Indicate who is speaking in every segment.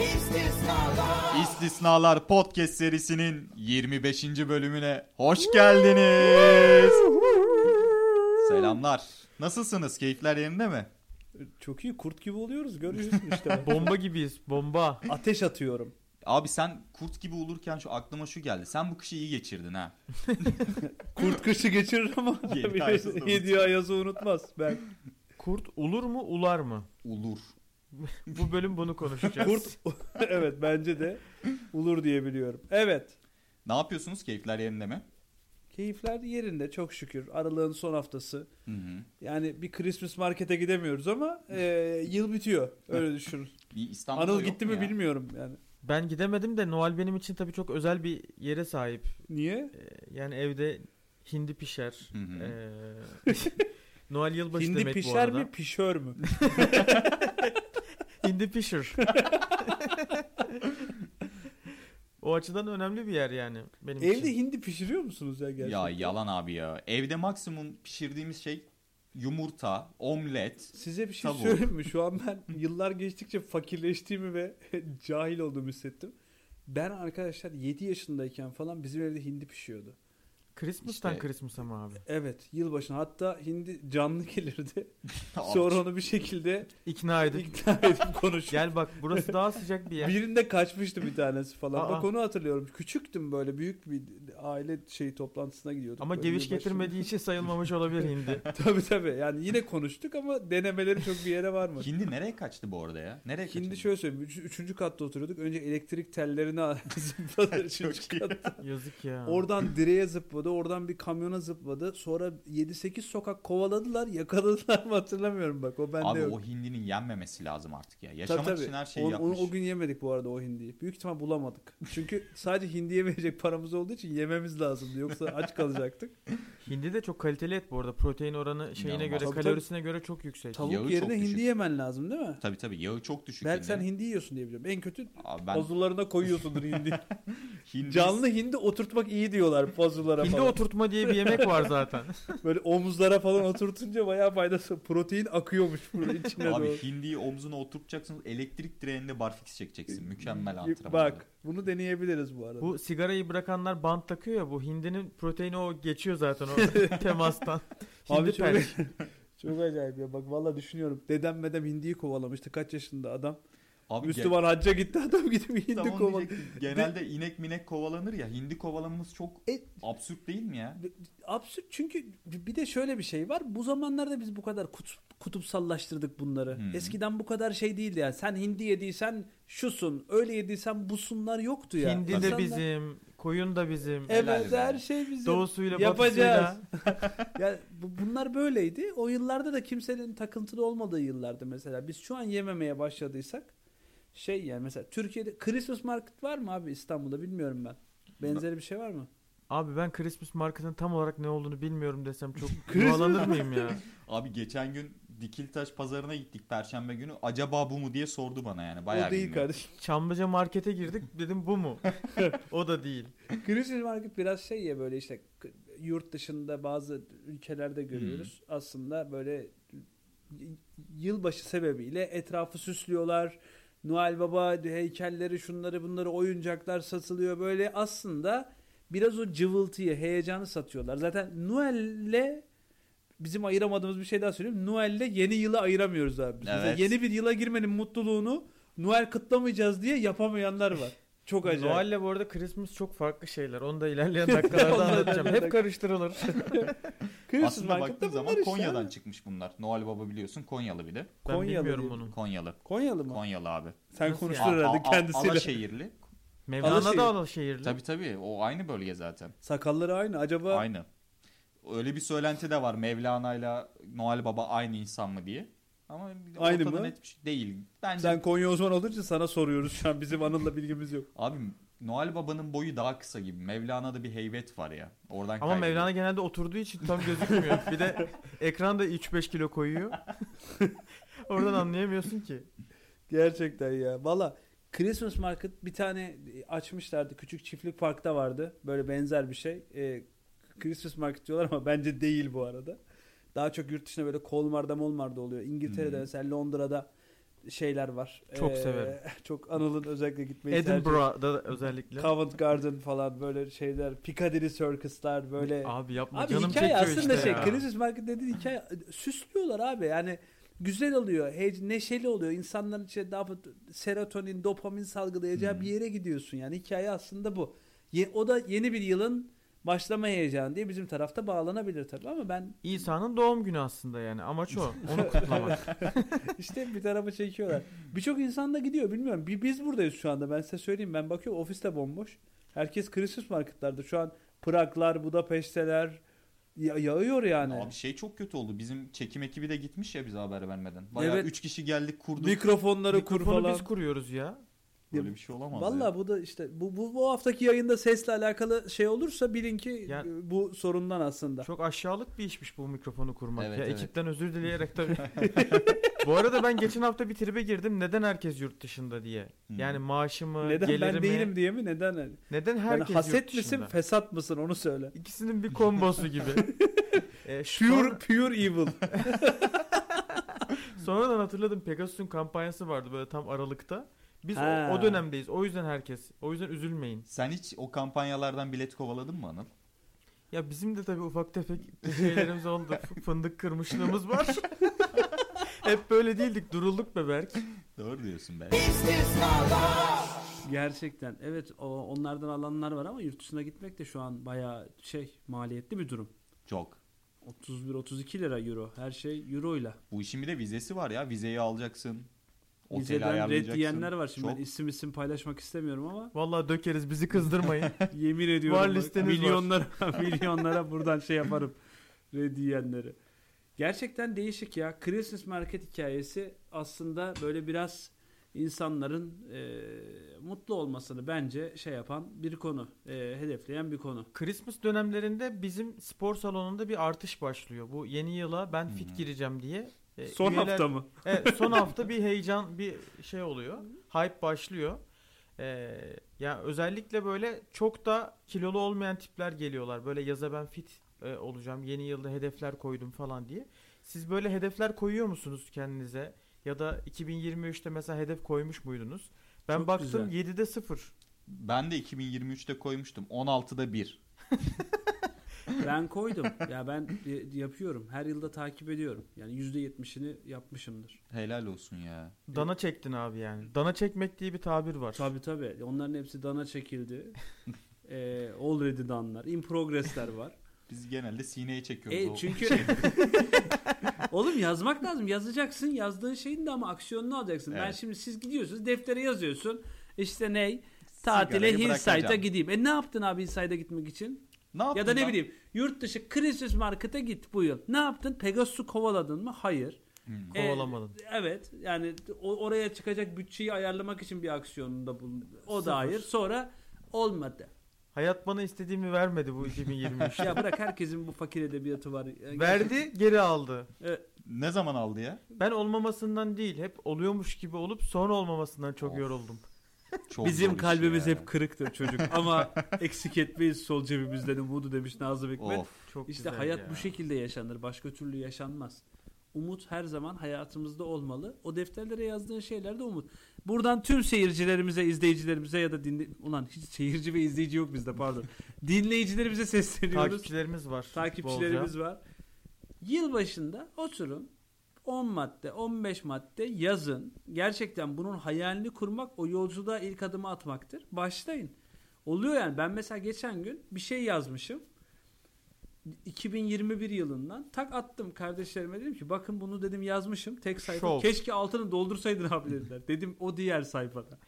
Speaker 1: İstisnalar
Speaker 2: İstisnalar Podcast serisinin 25. bölümüne hoş geldiniz. Selamlar. Nasılsınız? Keyifler yerinde mi?
Speaker 3: Çok iyi kurt gibi oluyoruz görüyorsun işte. bak.
Speaker 4: Bomba gibiyiz. Bomba.
Speaker 3: Ateş atıyorum.
Speaker 2: Abi sen kurt gibi olurken şu aklıma şu geldi. Sen bu kışı iyi geçirdin ha.
Speaker 3: Kurt kışı geçirir ama
Speaker 2: Yedi ayazı da
Speaker 3: 7 ayazı unutmaz ben.
Speaker 4: Kurt olur mu ular mı?
Speaker 2: Olur.
Speaker 4: Bu bölüm bunu konuşacağız.
Speaker 3: Kurt evet bence de olur diye biliyorum. Evet.
Speaker 2: Ne yapıyorsunuz? Keyifler yerinde mi?
Speaker 3: Keyifler yerinde çok şükür. Aralığın son haftası.
Speaker 2: Hı hı.
Speaker 3: Yani bir Christmas markete gidemiyoruz ama e, yıl bitiyor. Öyle düşünün.
Speaker 2: Bir İstanbul'da
Speaker 3: Anıl
Speaker 2: yok
Speaker 3: gitti
Speaker 2: mu
Speaker 3: mi
Speaker 2: ya?
Speaker 3: bilmiyorum yani.
Speaker 4: Ben gidemedim de Noel benim için tabii çok özel bir yere sahip.
Speaker 3: Niye?
Speaker 4: Ee, Yani evde hindi pişer.
Speaker 2: Hı hı.
Speaker 4: Ee, Noel yılbaşı
Speaker 3: Hmm. Hindi
Speaker 4: demek bu
Speaker 3: pişer
Speaker 4: arada.
Speaker 3: mi pişör mü?
Speaker 4: Hindi pişir. o açıdan önemli bir yer yani benim
Speaker 3: Evde
Speaker 4: için.
Speaker 3: hindi pişiriyor musunuz ya gerçekten?
Speaker 2: Ya yalan abi ya. Evde maksimum pişirdiğimiz şey yumurta, omlet.
Speaker 3: Size bir şey
Speaker 2: Tabii.
Speaker 3: söyleyeyim mi? Şu an ben yıllar geçtikçe fakirleştiğimi ve cahil olduğumu hissettim. Ben arkadaşlar 7 yaşındayken falan bizim evde hindi pişiyordu.
Speaker 4: Christmas'tan
Speaker 2: İşte-
Speaker 4: Christmas'a mı abi?
Speaker 3: Evet yılbaşına hatta hindi canlı gelirdi.
Speaker 2: Abi,
Speaker 3: Sonra onu bir şekilde
Speaker 4: İkna edip.
Speaker 3: ikna edip konuşup.
Speaker 4: Gel bak burası daha sıcak bir yer.
Speaker 3: Birinde kaçmıştı bir tanesi falan.
Speaker 4: Aa.
Speaker 3: Bak onu hatırlıyorum. Küçüktüm böyle büyük bir aile şey toplantısına gidiyorduk.
Speaker 4: Ama
Speaker 3: Böyle
Speaker 4: geviş
Speaker 3: yılbaşı-
Speaker 4: getirmediği için sayılmamış olabilir hindi.
Speaker 3: tabii tabii yani yine konuştuk ama denemeleri çok bir yere varmadı.
Speaker 2: Hindi nereye kaçtı bu arada ya? Nereye kaçtı?
Speaker 3: Şimdi şöyle söyleyeyim. Üç, üçüncü katta oturuyorduk. Önce elektrik tellerine zıpladı. üçüncü
Speaker 2: iyi.
Speaker 3: katta.
Speaker 4: Yazık ya.
Speaker 3: Oradan direğe zıpladı. Oradan bir kamyona zıpladı. Sonra 7-8 sokak kovaladılar. Yakaladılar mı hatırlamıyorum bak. O bende
Speaker 2: Abi
Speaker 3: yok.
Speaker 2: o hindinin yenmemesi lazım artık ya. Yaşamak için her şeyi
Speaker 3: Onu- onu
Speaker 2: yapmış.
Speaker 3: o gün yemedik bu arada o hindiyi. Büyük ihtimal bulamadık. Çünkü sadece hindiye verecek paramız olduğu için yememiz lazımdı. Yoksa aç kalacaktık.
Speaker 4: Hindi de çok kaliteli et bu arada. Protein oranı şeyine
Speaker 2: İnanılmaz.
Speaker 4: göre,
Speaker 3: Tabii,
Speaker 4: kalorisine göre çok yüksek.
Speaker 3: Tavuk
Speaker 2: Yağı çok
Speaker 3: yerine
Speaker 2: düşük.
Speaker 3: hindi yemen lazım değil mi?
Speaker 2: Tabii tabii yağı çok düşük.
Speaker 3: Belki sen
Speaker 2: hindinin.
Speaker 3: hindi yiyorsun diye biliyorum. En kötü
Speaker 2: Abi ben
Speaker 3: pozularına koyuyorsundur hindi.
Speaker 2: hindi
Speaker 3: Canlı hindi oturtmak iyi diyorlar pozulara
Speaker 4: Hindi
Speaker 3: falan.
Speaker 4: oturtma diye bir yemek var zaten.
Speaker 3: Böyle omuzlara falan oturtunca bayağı faydası. Protein akıyormuş burada içine
Speaker 2: Abi
Speaker 3: doğru.
Speaker 2: hindiyi omzuna oturtacaksın elektrik direğinde barfiks çekeceksin. Mükemmel antrenman.
Speaker 3: Bak bunu deneyebiliriz bu arada.
Speaker 4: Bu sigarayı bırakanlar bant takıyor ya bu hindinin proteini o geçiyor zaten o temastan. Hindi
Speaker 3: Abi çok,
Speaker 4: pelç.
Speaker 3: çok acayip ya. Bak valla düşünüyorum. Dedem medem hindiyi kovalamıştı. Kaç yaşında adam.
Speaker 2: Abi gen-
Speaker 3: Müslüman hacca gitti adam gidip hindi
Speaker 2: tam onu
Speaker 3: koval.
Speaker 2: diyecektim. Genelde inek minek kovalanır ya. Hindi kovalamamız çok
Speaker 3: E-
Speaker 2: absürt değil mi ya?
Speaker 3: Absürt çünkü bir de şöyle bir şey var. Bu zamanlarda biz bu kadar kutup, kutupsallaştırdık bunları.
Speaker 2: Hmm.
Speaker 3: Eskiden bu kadar şey değildi yani. Sen hindi yediysen şusun. Öyle yediysen busunlar yoktu ya.
Speaker 4: Hindi de
Speaker 3: İnsanlar-
Speaker 4: bizim, koyun da bizim.
Speaker 2: Helal
Speaker 3: Evet
Speaker 2: be.
Speaker 3: her şey bizim.
Speaker 4: Doğusuyla
Speaker 3: Yapacağız.
Speaker 4: batısıyla.
Speaker 3: Ya bu- bunlar böyleydi. O yıllarda da kimsenin takıntılı olmadığı yıllardı mesela. Biz şu an yememeye başladıysak şey yani mesela Türkiye'de Christmas Market var mı abi İstanbul'da bilmiyorum ben. Benzeri bir şey var mı?
Speaker 4: Abi ben Christmas marketin tam olarak ne olduğunu bilmiyorum desem çok yuvalanır mıyım ya?
Speaker 2: Abi geçen gün Dikiltaş pazarına gittik perşembe günü. Acaba bu mu diye sordu bana yani. Bayağı
Speaker 3: o değil
Speaker 2: bilmiyorum.
Speaker 3: kardeşim.
Speaker 4: Çamlıca markete girdik dedim bu mu? o da değil.
Speaker 3: Christmas Market biraz şey ya böyle işte k- yurt dışında bazı ülkelerde görüyoruz. Aslında böyle y- yılbaşı sebebiyle etrafı süslüyorlar. Noel Baba heykelleri şunları bunları oyuncaklar satılıyor. Böyle aslında biraz o cıvıltıyı, heyecanı satıyorlar. Zaten Noel'le bizim ayıramadığımız bir şey daha söyleyeyim. Noel'le yeni yılı ayıramıyoruz abi. biz. Mesela
Speaker 2: Evet.
Speaker 3: yeni bir yıla girmenin mutluluğunu Noel kutlamayacağız diye yapamayanlar var. Çok acayip.
Speaker 4: Noel'le bu arada Christmas çok farklı şeyler. Onu da ilerleyen dakikalarda anlatacağım. Hep karıştırılır.
Speaker 3: Christmas
Speaker 2: Aslında
Speaker 3: Market'te
Speaker 2: baktığın zaman
Speaker 3: bunlar işte
Speaker 2: Konya'dan
Speaker 3: abi.
Speaker 2: çıkmış bunlar. Noel Baba biliyorsun Konyalı bir de.
Speaker 4: Ben
Speaker 3: Konyalı
Speaker 4: bilmiyorum
Speaker 3: diye.
Speaker 4: bunu.
Speaker 2: Konyalı.
Speaker 3: Konyalı mı?
Speaker 2: Konyalı abi.
Speaker 3: Sen
Speaker 4: Nasıl
Speaker 3: konuştun
Speaker 4: yani?
Speaker 3: herhalde kendisiyle.
Speaker 4: şey.
Speaker 2: Alaşehirli.
Speaker 4: Mevlana
Speaker 3: Alaşehir.
Speaker 4: da Alaşehirli.
Speaker 2: Tabii tabii o aynı bölge zaten.
Speaker 3: Sakalları aynı. Acaba
Speaker 2: Aynı. Öyle bir söylenti de var Mevlana ile Noel Baba aynı insan mı diye. Ama
Speaker 3: Aynı
Speaker 2: ortada
Speaker 3: mı?
Speaker 2: net bir şey değil. Bence
Speaker 3: sen Konya uzmanı olduğun için sana soruyoruz şu an. Bizim Anıl'la bilgimiz yok.
Speaker 2: abi Noel Baba'nın boyu daha kısa gibi. Mevlana'da bir heybet var ya. Oradan
Speaker 4: Ama
Speaker 2: kaybediyor.
Speaker 4: Mevlana genelde oturduğu için tam gözükmüyor. Bir de ekranda 3-5 kilo koyuyor. Oradan anlayamıyorsun ki.
Speaker 3: Gerçekten ya. Valla Christmas Market bir tane açmışlardı. Küçük çiftlik parkta vardı. Böyle benzer bir şey. Ee, Christmas Market diyorlar ama bence değil bu arada. Daha çok yurt dışında böyle Kolmar'da Molmar'da oluyor. İngiltere'de
Speaker 2: Hı.
Speaker 3: mesela Londra'da şeyler var. Ee,
Speaker 4: Çok severim.
Speaker 3: Çok Anıl'ın özellikle gitmeyi tercih
Speaker 4: Edinburgh'da da özellikle.
Speaker 3: Covent Garden falan böyle şeyler. Piccadilly Circus'lar böyle.
Speaker 4: Abi yapma
Speaker 3: Abi
Speaker 4: canım
Speaker 3: hikaye
Speaker 4: çekiyor
Speaker 3: aslında
Speaker 4: işte
Speaker 3: şey
Speaker 4: ya.
Speaker 3: Crisis Market dediğin hikaye süslüyorlar abi yani güzel oluyor, heyec- neşeli oluyor. İnsanların içinde daha fazla serotonin, dopamin salgılayacağı
Speaker 2: Hı.
Speaker 4: Hmm.
Speaker 3: bir yere gidiyorsun. Yani hikaye aslında bu. Ye- o da yeni bir yılın başlama heyecanı diye bizim tarafta bağlanabilir tabii ama ben
Speaker 4: İsa'nın doğum günü aslında yani amaç o. Onu kutlamak.
Speaker 3: işte bir tarafa çekiyorlar. Birçok insan da gidiyor bilmiyorum. Bir biz buradayız şu anda ben size söyleyeyim. Ben bakıyorum ofiste bomboş. Herkes Christmas marketlerde şu an Praglar, Budapeşteler ya- yağıyor yani.
Speaker 2: Abi şey çok kötü oldu. Bizim çekim ekibi de gitmiş ya bize haber vermeden. Bayağı
Speaker 3: Evet.
Speaker 2: 3 kişi geldik kurduk.
Speaker 3: Mikrofonları kur
Speaker 4: Mikrofonu
Speaker 3: falan.
Speaker 4: biz kuruyoruz ya.
Speaker 2: Böyle bir şey olamaz.
Speaker 3: Valla
Speaker 2: ya.
Speaker 3: bu da işte bu, bu bu haftaki yayında sesle alakalı şey olursa bilin ki
Speaker 4: Ya-
Speaker 3: e, bu sorundan aslında.
Speaker 4: Çok aşağılık bir işmiş bu mikrofonu kurmak
Speaker 2: Evet,
Speaker 4: ya.
Speaker 2: evet.
Speaker 4: Ekipten özür dileyerek tabii. bu arada ben geçen hafta bir tribe girdim. Neden herkes yurt dışında diye.
Speaker 2: Hı.
Speaker 4: Yani maaşımı,
Speaker 3: Neden
Speaker 4: gelirimi.
Speaker 3: ben değilim diye mi? Neden? Yani
Speaker 4: Neden herkes yurt
Speaker 3: haset
Speaker 4: dışında?
Speaker 3: misin, fesat mısın onu söyle.
Speaker 4: İkisinin bir kombosu gibi. e,
Speaker 3: Pure
Speaker 4: sonra-
Speaker 3: pure evil.
Speaker 4: sonradan hatırladım Pegasus'un kampanyası vardı böyle tam aralıkta. Biz o-
Speaker 3: Ha.
Speaker 4: o dönemdeyiz. O yüzden herkes. O yüzden üzülmeyin.
Speaker 2: Sen hiç o kampanyalardan bilet kovaladın mı Anıl?
Speaker 4: Ya bizim de tabii ufak tefek şeylerimiz oldu. F- Fındık kırmışlığımız var. Hep böyle değildik. Durulduk be Berk.
Speaker 2: Doğru diyorsun be.
Speaker 3: Gerçekten evet o, onlardan alanlar var ama yurt dışına gitmek de şu an bayağı şey maliyetli bir durum.
Speaker 2: Çok.
Speaker 3: 31 32 lira euro. Her şey euroyla.
Speaker 2: Bu işin bir de vizesi var ya. Vizeyi alacaksın. Oteli
Speaker 3: Vizeden red
Speaker 2: ayarlayacaksın.
Speaker 3: diyenler var şimdi
Speaker 2: Çok.
Speaker 3: ben isim isim paylaşmak istemiyorum ama
Speaker 4: Vallahi dökeriz bizi kızdırmayın.
Speaker 3: yemin ediyorum
Speaker 4: Var
Speaker 3: bak,
Speaker 4: listeniz var.
Speaker 3: milyonlara milyonlara buradan şey yaparım red diyenlere. Gerçekten değişik ya. Christmas market hikayesi aslında böyle biraz insanların e, mutlu olmasını bence şey yapan bir konu, e, hedefleyen bir konu.
Speaker 4: Christmas dönemlerinde bizim spor salonunda bir artış başlıyor. Bu yeni yıla ben
Speaker 2: Hı.
Speaker 4: fit gireceğim diye. e,
Speaker 3: Son
Speaker 4: üyeler-
Speaker 3: hafta mı?
Speaker 4: Evet, E, son hafta bir heyecan bir şey oluyor. Hype başlıyor. Ee, ya özellikle böyle çok da kilolu olmayan tipler geliyorlar. Böyle yaza ben fit e, olacağım. Yeni yılda hedefler koydum falan diye. Siz böyle hedefler koyuyor musunuz kendinize? Ya da 2023'te mesela hedef koymuş muydunuz? Ben
Speaker 3: Çok
Speaker 4: baktım 7'de 0.
Speaker 2: Ben de 2023'te koymuştum. 16'da 1.
Speaker 3: Ben koydum. ya ben e, yapıyorum. Her yılda takip ediyorum. Yani %70'ini yapmışımdır.
Speaker 2: Helal olsun ya.
Speaker 4: Dana çektin abi yani. Dana çekmek diye bir tabir var.
Speaker 3: Tabii tabii. Onların hepsi dana çekildi. e, already danlar. In progress'ler var.
Speaker 2: Biz genelde sineye çekiyoruz.
Speaker 3: E,
Speaker 2: o- şey
Speaker 3: çünkü oğlum yazmak lazım. Yazacaksın. Yazdığın şeyin de ama aksiyonunu alacaksın. Ben
Speaker 2: Evet.
Speaker 3: şimdi siz gidiyorsunuz deftere yazıyorsun. İşte ney? Tatile
Speaker 2: Sigarayı
Speaker 3: Hillside'a
Speaker 2: bırakacağım.
Speaker 3: gideyim. E ne yaptın abi Hillside'a gitmek için?
Speaker 2: Ne yaptın
Speaker 3: Ya da ne
Speaker 2: lan?
Speaker 3: bileyim yurt dışı Christmas Market'a git bu yıl. Ne yaptın? Pegasus'u kovaladın mı? Hayır.
Speaker 2: Hmm.
Speaker 3: E,
Speaker 4: Kovalamadın.
Speaker 3: evet yani o- oraya çıkacak bütçeyi ayarlamak için bir aksiyonunda bulundu. O
Speaker 4: Sıfır.
Speaker 3: da hayır. Sonra olmadı.
Speaker 4: Hayat bana istediğimi vermedi bu 2023'te.
Speaker 3: Ya bırak herkesin bu fakir edebiyatı var. Yani
Speaker 4: Verdi geri aldı.
Speaker 3: Evet.
Speaker 2: Ne zaman aldı ya?
Speaker 4: Ben olmamasından değil, hep oluyormuş gibi olup sonra olmamasından çok
Speaker 2: Of.
Speaker 4: yoruldum.
Speaker 2: Çok zor
Speaker 3: Bizim
Speaker 2: iş
Speaker 3: kalbimiz
Speaker 2: ya.
Speaker 3: hep kırıktır çocuk ama eksik etmeyiz sol cebimizden umudu demiş Nazım Hikmet.
Speaker 2: Of.
Speaker 4: Çok
Speaker 3: işte
Speaker 4: güzel
Speaker 3: hayat
Speaker 4: ya.
Speaker 3: bu şekilde yaşanır. Başka türlü yaşanmaz. Umut her zaman hayatımızda olmalı. O defterlere yazdığın şeyler de umut. Buradan tüm seyircilerimize, izleyicilerimize ya da dinle... Ulan hiç seyirci ve izleyici yok bizde pardon. Dinleyicilerimize sesleniyoruz.
Speaker 4: Takipçilerimiz var.
Speaker 3: Takipçilerimiz
Speaker 4: bolca.
Speaker 3: var. Yıl başında oturun 10 madde, 15 madde yazın. Gerçekten bunun hayalini kurmak o yolculuğa ilk adımı atmaktır. Başlayın. Oluyor yani. Ben mesela geçen gün bir şey yazmışım. 2021 yılından tak attım kardeşlerime dedim ki bakın bunu dedim yazmışım tek sayfa
Speaker 4: Şov.
Speaker 3: keşke altını doldursaydın abi dediler dedim o diğer sayfada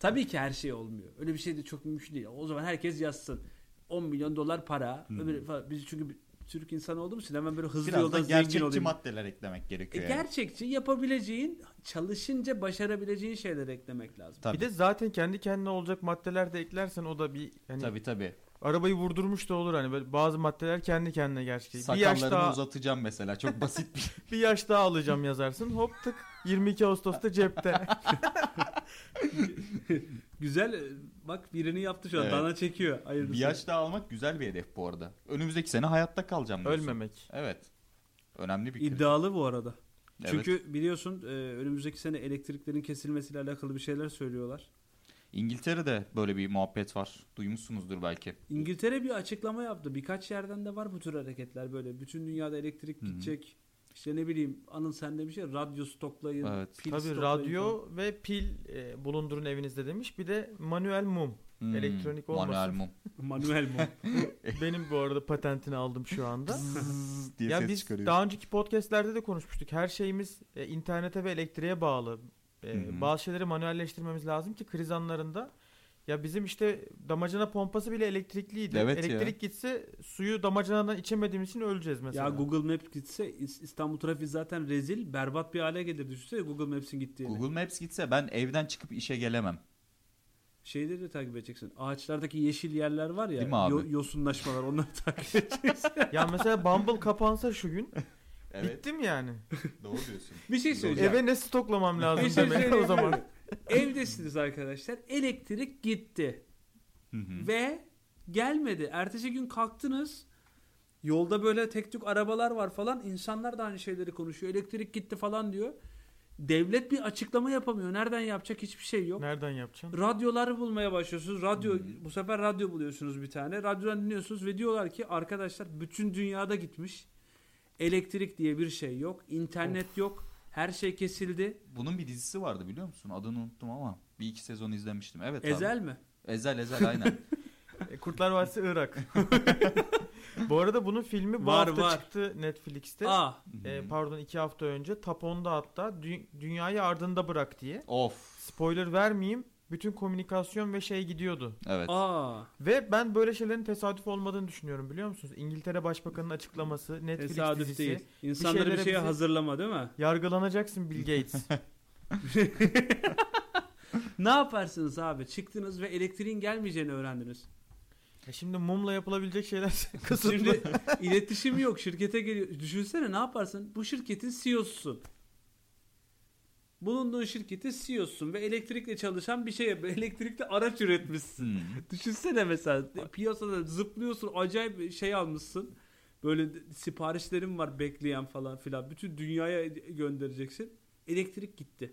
Speaker 3: tabii ki her şey olmuyor öyle bir şey de çok mümkün değil o zaman herkes yazsın 10 milyon dolar para.
Speaker 2: Hı.
Speaker 3: Öbür, falan. Biz çünkü bir Türk insanı olduğumuz için hemen böyle hızlı
Speaker 2: Biraz da
Speaker 3: yoldan zengin
Speaker 2: gerçekçi
Speaker 3: olayım.
Speaker 2: maddeler eklemek
Speaker 3: E,
Speaker 2: gerekiyor. yani.
Speaker 3: gerçekçi yapabileceğin, çalışınca başarabileceğin şeyler eklemek lazım.
Speaker 2: Tabii.
Speaker 4: Bir de zaten kendi kendine olacak maddeler de eklersen o da bir hani
Speaker 2: tabii tabii.
Speaker 4: arabayı vurdurmuş da olur hani böyle bazı maddeler kendi kendine gerçekleşiyor. Bir yaş
Speaker 2: Sakallarımı
Speaker 4: daha
Speaker 2: uzatacağım mesela. Çok basit bir şey.
Speaker 4: bir yaş daha alacağım yazarsın. Hop tık 22 Ağustos'ta cepte.
Speaker 3: Güzel e, bak birini yaptı şu an.
Speaker 2: Evet.
Speaker 3: Dana çekiyor. Hayırlısı.
Speaker 2: bir yaş daha almak güzel bir hedef bu arada. Önümüzdeki sene hayatta kalacağım diyorsun.
Speaker 4: Ölmemek.
Speaker 2: Evet. Önemli bir kriter.
Speaker 3: İddialı bu arada.
Speaker 2: Evet.
Speaker 3: Çünkü biliyorsun e, önümüzdeki sene elektriklerin kesilmesiyle alakalı bir şeyler söylüyorlar.
Speaker 2: İngiltere'de böyle bir muhabbet var. Duymuşsunuzdur belki.
Speaker 3: İngiltere bir açıklama yaptı. Birkaç yerden de var bu tür hareketler böyle. Bütün dünyada elektrik
Speaker 2: Hı hı.
Speaker 3: gidecek. İşte ne bileyim Anıl sen de bir şey radyo stoklayın.
Speaker 2: Evet.
Speaker 3: pil
Speaker 4: Tabii
Speaker 3: stoklayın falan.
Speaker 4: radyo ve pil e, bulundurun evinizde demiş. Bir de manuel mum.
Speaker 2: Hmm,
Speaker 4: Elektronik
Speaker 2: Manuel
Speaker 4: olmasın.
Speaker 2: mum.
Speaker 3: Manuel mum.
Speaker 4: Benim bu arada patentini aldım şu anda.
Speaker 2: Zzz diye
Speaker 4: ya
Speaker 2: ses
Speaker 4: biz
Speaker 2: çıkarıyor.
Speaker 4: daha önceki podcastlerde de konuşmuştuk. Her şeyimiz e, internete ve elektriğe bağlı. E,
Speaker 2: Hı hı.
Speaker 4: bazı şeyleri manuelleştirmemiz lazım ki kriz anlarında ya bizim işte damacana pompası bile elektrikliydi.
Speaker 2: Evet ya.
Speaker 4: Elektrik gitse suyu damacanadan içemediğimiz için öleceğiz mesela.
Speaker 3: ya Google Maps gitse İs- İstanbul trafiği zaten rezil berbat bir hale gelir. Düşünsene Google Maps'in gittiğini.
Speaker 2: Google Maps gitse ben evden çıkıp işe gelemem.
Speaker 3: Şeyleri de takip edeceksin. Ağaçlardaki yeşil yerler var ya.
Speaker 2: Değil mi abi?
Speaker 3: yo- yosunlaşmalar onları takip edeceksin.
Speaker 4: ya mesela Bumble kapansa şu gün
Speaker 2: Evet
Speaker 4: bittim yani.
Speaker 2: doğru diyorsun.
Speaker 3: bir şey söyleyeceğim.
Speaker 4: Eve ne stoklamam
Speaker 3: Bir
Speaker 4: lazım
Speaker 3: şey
Speaker 4: demek o
Speaker 3: söyleyeyim
Speaker 4: zaman.
Speaker 3: mi? Evdesiniz arkadaşlar. Elektrik gitti.
Speaker 2: Hı hı.
Speaker 3: Ve gelmedi. Ertesi gün kalktınız. Yolda böyle tek tük arabalar var falan. İnsanlar da aynı şeyleri konuşuyor. Elektrik gitti falan diyor. Devlet bir açıklama yapamıyor. Nereden yapacak hiçbir şey yok.
Speaker 4: Nereden yapacaksın?
Speaker 3: Radyoları bulmaya başlıyorsunuz. Radyo
Speaker 2: Hmm.
Speaker 3: bu sefer radyo buluyorsunuz bir tane. Radyodan dinliyorsunuz ve diyorlar ki arkadaşlar bütün dünyada gitmiş. Elektrik diye bir şey yok. İnternet yok. Her şey kesildi.
Speaker 4: E,
Speaker 2: Bunun bir dizisi vardı biliyor musun? Adını unuttum ama bir iki sezon izlemiştim. Evet abi.
Speaker 3: Ezel mi?
Speaker 2: Ezel Ezel aynen.
Speaker 4: E, Kurtlar Vadisi Irak. bu arada bunun filmi bu
Speaker 3: Var,
Speaker 4: hafta
Speaker 3: var.
Speaker 4: çıktı Netflix'te.
Speaker 3: Aa.
Speaker 4: E,
Speaker 2: Hı hı.
Speaker 4: pardon iki hafta önce Tapon'da hatta dü- dünyayı ardında bırak diye.
Speaker 2: of.
Speaker 4: Spoiler vermeyeyim. Bütün komünikasyon ve şey gidiyordu.
Speaker 2: Evet.
Speaker 3: Aa.
Speaker 4: Ve ben böyle şeylerin tesadüf olmadığını düşünüyorum biliyor musunuz? İngiltere Başbakanı'nın açıklaması, Netflix
Speaker 3: Tesadüf
Speaker 4: dizisi.
Speaker 3: değil. İnsanları bir
Speaker 4: şeylere
Speaker 3: şeye
Speaker 4: bizi-
Speaker 3: hazırlama değil mi?
Speaker 4: Yargılanacaksın Bill Gates.
Speaker 3: Ne yaparsınız abi? Çıktınız ve elektriğin gelmeyeceğini öğrendiniz.
Speaker 4: E Şimdi mumla yapılabilecek şeyler kısıtlı.
Speaker 3: Şimdi iletişim yok. Şirkete geliyor. Düşünsene ne yaparsın? Bu şirketin CEO'susun. Bulunduğun şirketin CEO'sun ve elektrikle çalışan bir şey yap. Elektrikli araç üretmişsin.
Speaker 2: Hı.
Speaker 3: Düşünsene mesela piyasada zıplıyorsun. Acayip bir şey almışsın. Böyle de- siparişlerin var bekleyen falan filan. Bütün dünyaya göndereceksin. Elektrik gitti.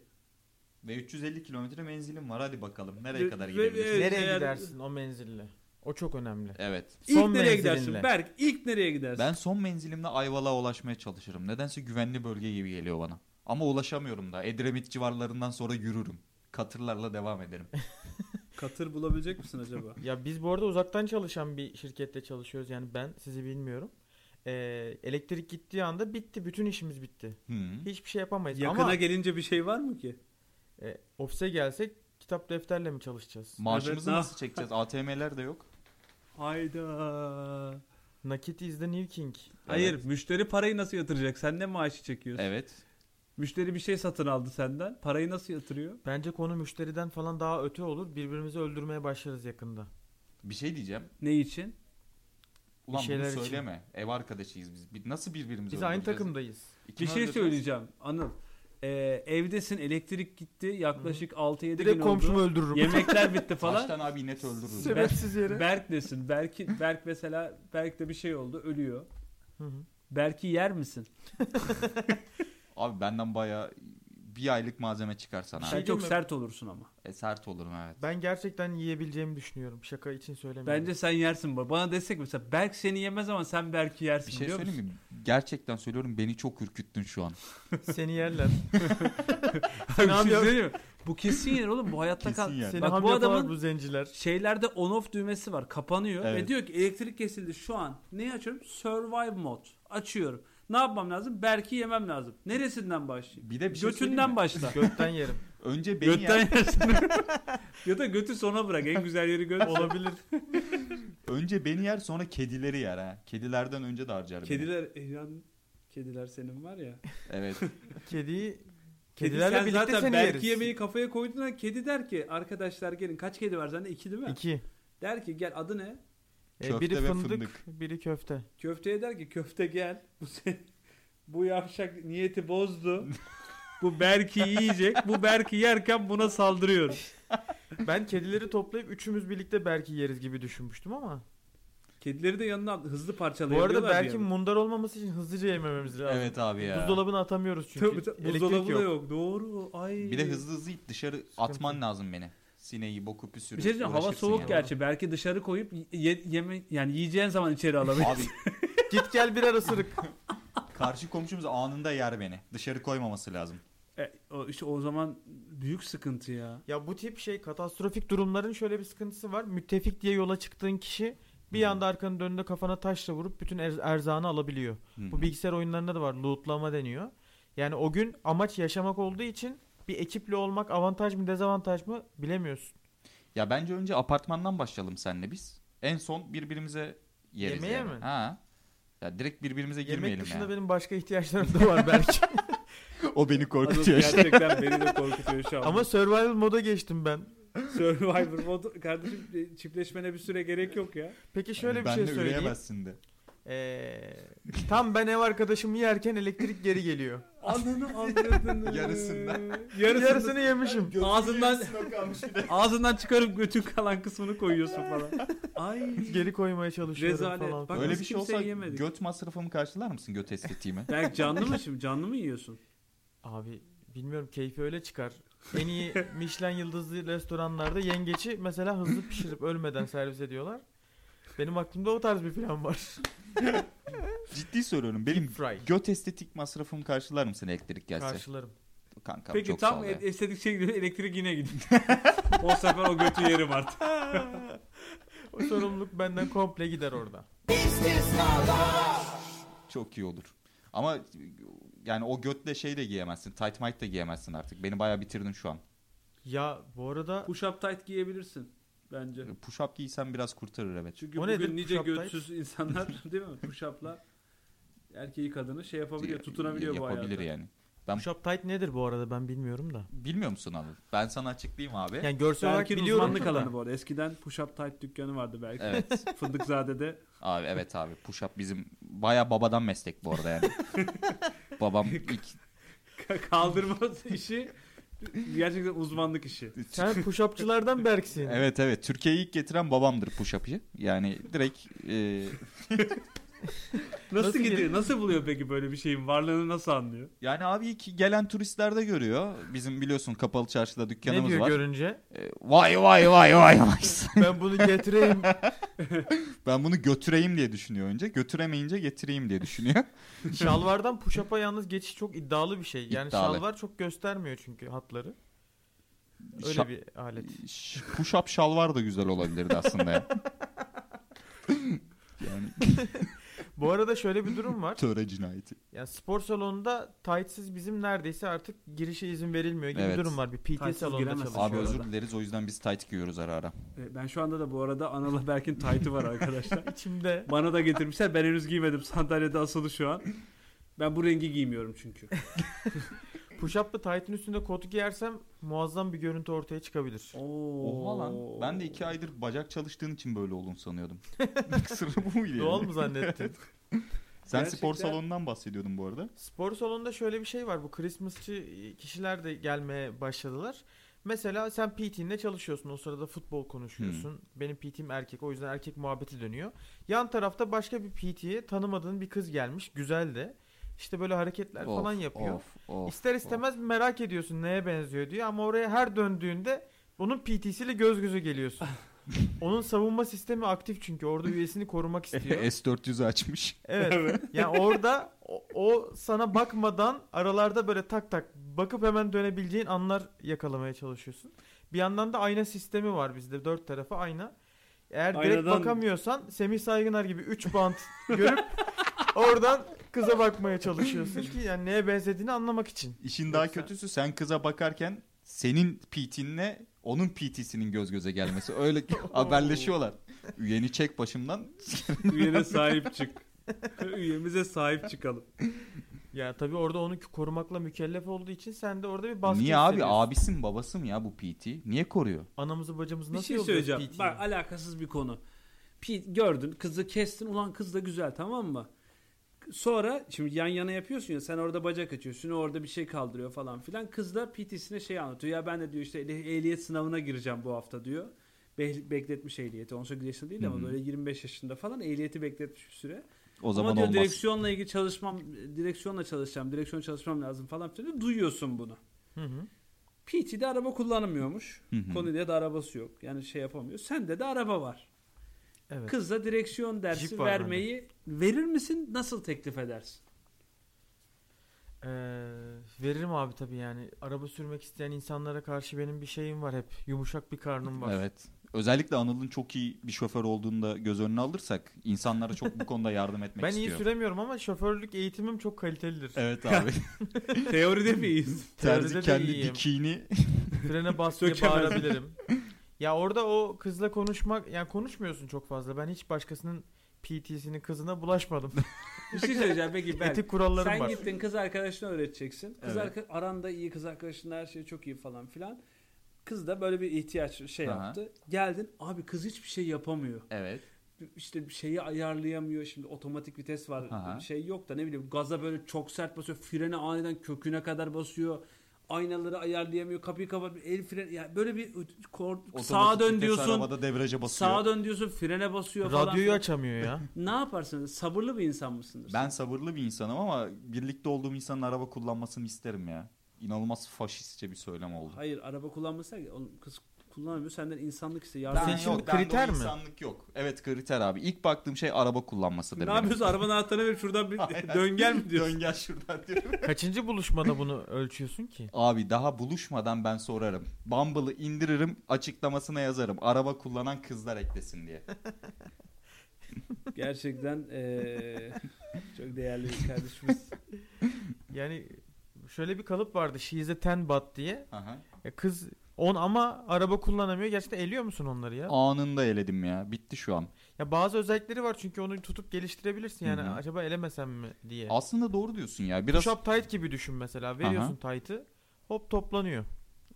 Speaker 2: Ve 350 kilometre menzilim var hadi bakalım nereye kadar
Speaker 3: Ve-
Speaker 2: gidebilirsin.
Speaker 3: Evet,
Speaker 4: Nereye
Speaker 3: eğer-
Speaker 4: gidersin o menzille? O çok önemli.
Speaker 2: Evet.
Speaker 3: İlk
Speaker 4: Son
Speaker 3: nereye
Speaker 4: menzilinle.
Speaker 3: gidersin? Berk ilk nereye gidersin?
Speaker 2: Ben son menzilimle Ayvalık'a ulaşmaya çalışırım. Nedense güvenli bölge gibi geliyor bana. Ama ulaşamıyorum da. Edremit civarlarından sonra yürürüm. Katırlarla devam ederim.
Speaker 3: Katır bulabilecek misin acaba?
Speaker 4: Ya biz bu arada uzaktan çalışan bir şirkette çalışıyoruz. Yani ben sizi bilmiyorum. E, elektrik gittiği anda bitti. Bütün işimiz bitti.
Speaker 2: Hı.
Speaker 4: Hiçbir şey yapamayız.
Speaker 3: Yakına
Speaker 4: Ama
Speaker 3: gelince bir şey var mı ki?
Speaker 4: E, ofise gelsek kitap defterle mi çalışacağız?
Speaker 2: Maaşımızı
Speaker 3: Evet,
Speaker 2: nasıl çekeceğiz? ATM'ler de yok.
Speaker 3: Hayda.
Speaker 4: Nakit is the new king.
Speaker 3: Hayır, müşteri parayı nasıl yatıracak? Sen ne maaşı çekiyorsun?
Speaker 2: Evet.
Speaker 3: Müşteri bir şey satın aldı senden. Parayı nasıl yatırıyor?
Speaker 4: Bence konu müşteriden falan daha öte olur. Birbirimizi öldürmeye başlarız yakında.
Speaker 2: Bir şey diyeceğim.
Speaker 3: Ne için?
Speaker 2: Ulan bunu
Speaker 4: şeyler için.
Speaker 2: söyleme. Ev arkadaşıyız biz. Biz nasıl birbirimizi
Speaker 4: Biz aynı
Speaker 2: öldüreceğiz?
Speaker 4: takımdayız.
Speaker 2: İkini
Speaker 3: Bir şey
Speaker 2: öldüreceğiz.
Speaker 3: söyleyeceğim. Anıl. Ee, evdesin, elektrik gitti. Yaklaşık 6-7 gün
Speaker 4: Direkt
Speaker 3: oldu.
Speaker 4: komşumu öldürürüm.
Speaker 3: Yemekler bitti falan.
Speaker 2: Taştan abi net öldürürüz.
Speaker 3: Sebep-
Speaker 4: Sebepsiz yere.
Speaker 3: Berk nesin? Berk, Berk mesela Berk'te bir şey oldu, ölüyor.
Speaker 4: Hı hı.
Speaker 3: Berk'i yer misin?
Speaker 2: Abi benden baya bir aylık malzeme çıkarsan
Speaker 4: Bir
Speaker 2: abi.
Speaker 4: şey
Speaker 3: Sen çok
Speaker 4: diyeyim mi?
Speaker 3: sert olursun ama.
Speaker 2: E, sert olurum evet.
Speaker 4: Ben gerçekten yiyebileceğimi düşünüyorum. Şaka için söylemiyorum.
Speaker 3: Bence sen yersin. baba. Bana desek mesela Berk seni yemez ama sen Berk'i yersin.
Speaker 2: Bir şey
Speaker 3: biliyor musun?
Speaker 2: söyleyeyim mi? Gerçekten söylüyorum beni çok ürküttün şu an.
Speaker 4: Seni yerler.
Speaker 3: Abi
Speaker 4: Ne
Speaker 3: bir şey
Speaker 4: yapıyor?
Speaker 3: söyleyeyim mi? Bu kesin yer oğlum. Bu hayatta
Speaker 2: Kesin
Speaker 3: kal.
Speaker 2: yer.
Speaker 4: Seni
Speaker 3: Bak
Speaker 4: ham
Speaker 3: bu
Speaker 4: yaparlar
Speaker 3: adamın-
Speaker 4: bu zenciler.
Speaker 3: Şeylerde on-off düğmesi var. Kapanıyor ve
Speaker 2: Evet.
Speaker 3: diyor ki elektrik kesildi şu an. Neyi açıyorum? Survive mod. Açıyorum. Ne yapmam lazım? Berk'i yemem lazım. Neresinden başlayayım?
Speaker 2: Bir de bir şey söyleyeyim
Speaker 3: Götünden
Speaker 2: mi?
Speaker 3: başla.
Speaker 4: Gökten yerim.
Speaker 2: Önce beni
Speaker 3: Götten
Speaker 2: yer,
Speaker 3: yersin. ya da götü sona bırak. En güzel yeri göt.
Speaker 4: Olabilir.
Speaker 2: önce beni yer sonra kedileri yer ha. Kedilerden önce de harcar beni.
Speaker 3: Kediler, Ehlan, kediler senin var ya.
Speaker 2: Evet.
Speaker 4: Kediyi
Speaker 3: Kedi
Speaker 4: Kedilerle
Speaker 3: sen
Speaker 4: birlikte
Speaker 3: zaten
Speaker 4: seni
Speaker 3: Berk'i
Speaker 4: yeriz.
Speaker 3: yemeği kafaya koyduğunda kedi der ki arkadaşlar gelin kaç kedi var sende? İki değil mi?
Speaker 4: iki.
Speaker 3: Der ki gel adı ne?
Speaker 4: E,
Speaker 2: Köfte
Speaker 4: biri
Speaker 2: ve
Speaker 4: fındık,
Speaker 2: fındık.
Speaker 4: biri köfte.
Speaker 3: Köfteye der ki köfte gel. Bu sen, bu yavşak niyeti bozdu. bu Berk'i yiyecek. Bu Berk'i yerken buna saldırıyor.
Speaker 4: Ben kedileri toplayıp üçümüz birlikte belki yeriz gibi düşünmüştüm ama
Speaker 3: Kedileri de yanına hızlı
Speaker 4: Bu
Speaker 3: parçalayabiliyorlar.
Speaker 4: arada belki
Speaker 3: yani.
Speaker 4: mundar olmaması için hızlıca yemememiz lazım.
Speaker 2: Evet abi ya.
Speaker 4: Buzdolabını atamıyoruz çünkü.
Speaker 3: Tabii, tabii,
Speaker 4: Elektrik
Speaker 3: buzdolabı da
Speaker 4: yok.
Speaker 3: yok. Doğru. Ay.
Speaker 2: Bir de hızlı hızlı it dışarı atman lazım beni. Sineği, boku, püsürü.
Speaker 3: Bir şey diyeceğim, hava
Speaker 2: uğraşırsın
Speaker 3: soğuk
Speaker 2: yani.
Speaker 3: gerçi. Belki dışarı koyup ye- yeme yani yiyeceğin zaman içeri alabilir.
Speaker 2: Abi
Speaker 4: Git gel birer ısırık.
Speaker 2: karşı komşumuz anında yer beni. Dışarı koymaması lazım.
Speaker 3: e, o, işte o zaman büyük sıkıntı ya.
Speaker 4: ya bu tip şey katastrofik durumların şöyle bir sıkıntısı var. Müttefik diye yola çıktığın kişi bir
Speaker 2: Hı.
Speaker 4: anda arkanın önünde kafana taşla vurup bütün er- erzağını alabiliyor.
Speaker 2: Hı.
Speaker 4: Bu bilgisayar oyunlarında da var. Lootlama deniyor. Yani o gün amaç yaşamak olduğu için bir ekiple olmak avantaj mı dezavantaj mı bilemiyorsun.
Speaker 2: Ya bence önce apartmandan başlayalım senle biz. En son birbirimize yeriz
Speaker 4: Yemeğe
Speaker 2: yani.
Speaker 4: mi?
Speaker 2: Ha. Ya direkt birbirimize
Speaker 4: Yemek
Speaker 2: girmeyelim
Speaker 4: dışında
Speaker 2: yani.
Speaker 4: benim başka ihtiyaçlarım da var belki.
Speaker 2: O beni
Speaker 3: Azot
Speaker 2: korkutuyor işte.
Speaker 3: gerçekten beni de korkutuyor şu an.
Speaker 4: Ama survival moda geçtim ben.
Speaker 3: Survivor modu kardeşim e, çiftleşmene bir süre gerek yok ya.
Speaker 4: Peki şöyle
Speaker 2: Yani
Speaker 4: bir şey
Speaker 2: benle
Speaker 4: söyleyeyim.
Speaker 2: üreyemezsin de.
Speaker 4: Ee, tam ben ev arkadaşımı yerken elektrik geri geliyor.
Speaker 3: Ananı avradını.
Speaker 2: Yarısından.
Speaker 3: Yarısını.
Speaker 4: Yarısını yemişim.
Speaker 3: Ağzından ağzından çıkarıp götün kalan kısmını koyuyorsun falan. Ay.
Speaker 4: Geri koymaya çalışıyorum
Speaker 3: Rezalet.
Speaker 4: falan.
Speaker 3: Bak-
Speaker 4: filan.
Speaker 2: Öyle
Speaker 3: biz
Speaker 2: bir şey
Speaker 3: kimseyi
Speaker 2: olsa
Speaker 3: yemedik.
Speaker 2: göt masrafımı karşılar mısın göt estetiğimi?
Speaker 3: Berk canlı mı şimdi? Canlı mı yiyorsun?
Speaker 4: Abi bilmiyorum keyfi öyle çıkar. En iyi Michelin yıldızlı restoranlarda yengeci mesela hızlı pişirip ölmeden servis ediyorlar. Benim aklımda o tarz bir plan var.
Speaker 2: Ciddi söylüyorum. Benim
Speaker 4: Fry.
Speaker 2: göt estetik masrafımı karşılar mısın elektrik gelse?
Speaker 4: Karşılarım.
Speaker 2: Kankam
Speaker 3: Peki
Speaker 2: çok sağ
Speaker 3: tam
Speaker 2: ol ya.
Speaker 3: e- estetik şey gibi elektrik yine gidiyor. o sefer o götü yerim artık.
Speaker 4: O sorumluluk benden komple gider orada.
Speaker 2: Çok iyi olur. Ama yani o götle şey de giyemezsin. Tight might de giyemezsin artık. Beni bayağı bitirdin şu an.
Speaker 4: Ya bu arada
Speaker 3: Push up tight giyebilirsin bence.
Speaker 2: Push up giysen biraz kurtarır evet.
Speaker 3: Çünkü
Speaker 4: O
Speaker 3: bugün
Speaker 4: nedir
Speaker 3: nice
Speaker 4: push-up tight?
Speaker 3: götsüz insanlar değil mi? Push up'la erkeği kadını şey yapabiliyor, tutunabiliyor bu
Speaker 2: Yapabilir
Speaker 3: hayata.
Speaker 2: yani. Ben
Speaker 4: push-up tight nedir bu arada ben bilmiyorum da.
Speaker 2: bilmiyor musun abi? Ben sana açıklayayım abi.
Speaker 4: Yani görsel olarak
Speaker 3: Berk'in
Speaker 4: biliyorum.
Speaker 3: E? uzmanlık
Speaker 4: da.
Speaker 3: alanı bu arada. Eskiden push up tight dükkanı vardı belki.
Speaker 2: Evet.
Speaker 3: Fındıkzade'de
Speaker 2: abi evet abi. Push up bizim bayağı babadan meslek bu arada yani. Babam ilk
Speaker 3: kaldırma işi gerçekten uzmanlık işi.
Speaker 4: Sen push-upçılardan Berk'sin.
Speaker 2: Evet evet. Türkiye'yi ilk getiren babamdır push up'ı. Yani direkt e,
Speaker 3: Nasıl,
Speaker 4: Nasıl
Speaker 3: gidiyor?
Speaker 4: geliyor?
Speaker 3: Nasıl buluyor peki böyle bir şeyin varlığını nasıl anlıyor?
Speaker 2: yani abi ilk gelen turistlerde görüyor. Bizim biliyorsun kapalı çarşıda
Speaker 4: Ne
Speaker 2: dükkanımız
Speaker 4: diyor
Speaker 2: var.
Speaker 4: görünce?
Speaker 2: E, vay vay vay vay vay.
Speaker 4: Ben bunu getireyim.
Speaker 2: Ben bunu götüreyim diye düşünüyor önce. Götüremeyince getireyim diye düşünüyor.
Speaker 4: Şalvardan push-up'a yalnız geçiş çok iddialı bir şey. Yani
Speaker 2: İddialı.
Speaker 4: şalvar çok göstermiyor çünkü hatları. Öyle
Speaker 2: Şa-
Speaker 4: bir alet.
Speaker 2: Ş- push up şalvar da güzel olabilirdi aslında ya. yani
Speaker 4: Bu arada şöyle bir durum var.
Speaker 2: töre cinayeti.
Speaker 4: Yani spor salonunda tightsiz bizim neredeyse artık girişe izin verilmiyor gibi
Speaker 2: Evet.
Speaker 4: durum var. Bir PT
Speaker 3: Tightsiz
Speaker 4: salonunda
Speaker 3: giremezsin.
Speaker 4: çalışıyor.
Speaker 2: Abi
Speaker 3: bu
Speaker 2: özür
Speaker 3: arada.
Speaker 2: dileriz o yüzden biz tight giyiyoruz ara ara.
Speaker 3: E, Ben şu anda da bu arada Anıl'a Berk'in taytı var arkadaşlar.
Speaker 4: İçimde.
Speaker 3: Bana da getirmişler. Ben henüz giymedim. Sandalyede asılı şu an. Ben bu rengi giymiyorum çünkü.
Speaker 4: Push-up'lı tight'in üstünde kotu giyersen muazzam bir görüntü ortaya çıkabilir.
Speaker 3: Oo.
Speaker 2: Oha lan. Ben de iki aydır bacak çalıştığın için böyle olduğunu sanıyordum. Sırrı bu muydu yani?
Speaker 4: Doğal mı zannettin?
Speaker 2: Sen
Speaker 3: Gerçekten-
Speaker 2: spor salonundan bahsediyordun bu arada.
Speaker 4: Spor salonunda şöyle bir şey var. Bu Christmas'çı kişiler de gelmeye başladılar. Mesela sen PT'nle çalışıyorsun. O sırada futbol konuşuyorsun.
Speaker 2: Hmm.
Speaker 4: Benim PT'm erkek. O yüzden erkek muhabbeti dönüyor. Yan tarafta başka bir PT'ye tanımadığın bir kız gelmiş. Güzel de. İşte böyle hareketler falan yapıyor.
Speaker 2: Of, of.
Speaker 4: İster istemez merak ediyorsun neye benziyor diye ama oraya her döndüğünde onun PT'siyle göz göze geliyorsun. onun savunma sistemi aktif çünkü orada üyesini korumak istiyor.
Speaker 2: S400'ü açmış.
Speaker 4: Evet. yani orada o, o sana bakmadan aralarda böyle tak tak bakıp hemen dönebileceğin anlar yakalamaya çalışıyorsun. Bir yandan da ayna sistemi var bizde. Dört tarafa ayna. Eğer direkt
Speaker 3: Aynadan-
Speaker 4: bakamıyorsan Semih Saygınar gibi 3 bant görüp oradan kıza bakmaya çalışıyorsun ki yani neye benzediğini anlamak için.
Speaker 2: İşin daha
Speaker 4: Yoksa-
Speaker 2: kötüsü sen kıza bakarken senin PT'inle onun PT'sinin göz göze gelmesi. Öyle haberleşiyorlar. Üyeni çek başımdan.
Speaker 3: Üyene sahip çık. Üyemize sahip çıkalım.
Speaker 4: Ya tabii orada onu korumakla mükellef olduğu için sen de orada bir baskı
Speaker 2: Niye abi?
Speaker 4: hissediyorsun.
Speaker 2: Abisi mi babası mı ya bu PT? Niye koruyor?
Speaker 4: Anamızı bacımızı
Speaker 3: Bir
Speaker 4: nasıl
Speaker 3: şey
Speaker 4: yolluyoruz
Speaker 3: söyleyeceğim.
Speaker 4: PT'ye?
Speaker 3: Bak alakasız bir konu. Pi- gördün kızı kestin ulan kız da güzel tamam mı? Sonra şimdi yan yana yapıyorsun ya sen orada bacak açıyorsun o orada bir şey kaldırıyor falan filan. Kız da PT'sine şey anlatıyor ya ben de diyor işte ehli- ehliyet sınavına gireceğim bu hafta diyor. be- bekletmiş ehliyeti. 18 yaşında değil
Speaker 2: Hı
Speaker 3: ama
Speaker 2: hı.
Speaker 3: böyle 25 yaşında falan ehliyeti bekletmiş bir süre.
Speaker 2: O zaman
Speaker 3: ama diyor
Speaker 2: olmaz.
Speaker 3: direksiyonla ilgili çalışmam, direksiyonla çalışacağım, direksiyon çalışmam lazım falan filan diyor. duyuyorsun bunu.
Speaker 4: Hı hı.
Speaker 3: PT'de araba kullanamıyormuş.
Speaker 2: Hı hı.
Speaker 3: Konya'da da arabası yok. Yani şey yapamıyor. Sende de araba var.
Speaker 4: Evet.
Speaker 3: Kız da direksiyon dersi
Speaker 4: Jeep var
Speaker 3: vermeyi verir misin? Nasıl teklif edersin?
Speaker 4: Ee, veririm abi tabii yani. Araba sürmek isteyen insanlara karşı benim bir şeyim var hep. Yumuşak bir karnım var.
Speaker 2: Evet. Özellikle Anıl'ın çok iyi bir şoför olduğunu da göz önüne alırsak insanlara çok bu konuda yardım etmek
Speaker 4: Ben iyi
Speaker 2: istiyor.
Speaker 4: süremiyorum ama şoförlük eğitimim çok kalitelidir.
Speaker 2: Evet abi.
Speaker 3: Teoride miyiz?
Speaker 4: Teoride
Speaker 2: Terzi
Speaker 4: de
Speaker 2: kendi
Speaker 4: iyiyim.
Speaker 2: dikiğini
Speaker 4: Frene bas diye
Speaker 3: Sökemez.
Speaker 4: bağırabilirim. ya orada o kızla konuşmak yani konuşmuyorsun çok fazla. Ben hiç başkasının PT'sinin kızına bulaşmadım.
Speaker 3: Bir şey söyleyeceğim peki ben.
Speaker 4: Etik kurallarım
Speaker 3: Sen
Speaker 4: var.
Speaker 3: gittin kız arkadaşına öğreteceksin. Kız
Speaker 2: Evet.
Speaker 3: arka- aranda iyi kız arkadaşın her şey çok iyi falan filan. Kız da böyle bir ihtiyaç şey
Speaker 2: Aha.
Speaker 3: yaptı. Geldin abi kız hiçbir şey yapamıyor.
Speaker 2: Evet.
Speaker 3: İşte bir şeyi ayarlayamıyor. Şimdi otomatik vites var.
Speaker 2: Aha.
Speaker 3: Bir şey yok da ne bileyim gaza böyle çok sert basıyor. Frene aniden köküne kadar basıyor. Aynaları ayarlayamıyor. Kapıyı kapat. El freni. Yani böyle bir kor- sağa
Speaker 2: Otomatik
Speaker 3: dön
Speaker 2: vites
Speaker 3: diyorsun.
Speaker 2: Arabada devreje basıyor.
Speaker 3: Sağa dön diyorsun. Frene basıyor falan.
Speaker 4: Radyoyu açamıyor ya.
Speaker 3: Ne yaparsınız? Sabırlı bir insan mısınız?
Speaker 2: Ben sabırlı bir insanım ama birlikte olduğum insanın araba kullanmasını isterim ya. İnanılmaz faşistçe bir söylem oldu.
Speaker 3: Hayır araba kullanmasa oğlum kız kullanamıyor senden insanlık iste yardım.
Speaker 2: Ben
Speaker 4: Senin şimdi
Speaker 2: yok, bende o
Speaker 4: kriter mi?
Speaker 2: insanlık yok. Evet kriter abi. İlk baktığım şey araba kullanmasıdır.
Speaker 3: ne
Speaker 2: benim.
Speaker 3: yapıyorsun arabanın anahtarını ver şuradan bir döngel mi diyorsun?
Speaker 2: Dön gel şuradan diyorum.
Speaker 4: Kaçıncı buluşmada bunu ölçüyorsun ki?
Speaker 2: Abi daha buluşmadan ben sorarım. Bumble'ı indiririm açıklamasına yazarım. Araba kullanan kızlar eklesin diye.
Speaker 3: Gerçekten eee, çok değerli bir kardeşimiz.
Speaker 4: Yani şöyle bir kalıp vardı. She is a ten bat diye.
Speaker 2: Aha.
Speaker 4: E kız 10 ama araba kullanamıyor. Gerçekten eliyor musun onları ya?
Speaker 2: Anında eledim ya. Bitti şu an.
Speaker 4: Ya bazı özellikleri var çünkü onu tutup geliştirebilirsin. Yani
Speaker 2: Hı hı.
Speaker 4: acaba elemesem mi diye.
Speaker 2: Aslında doğru diyorsun ya. Biraz
Speaker 4: Biraz... Push up tight gibi düşün mesela. Veriyorsun tight'ı. Hop toplanıyor.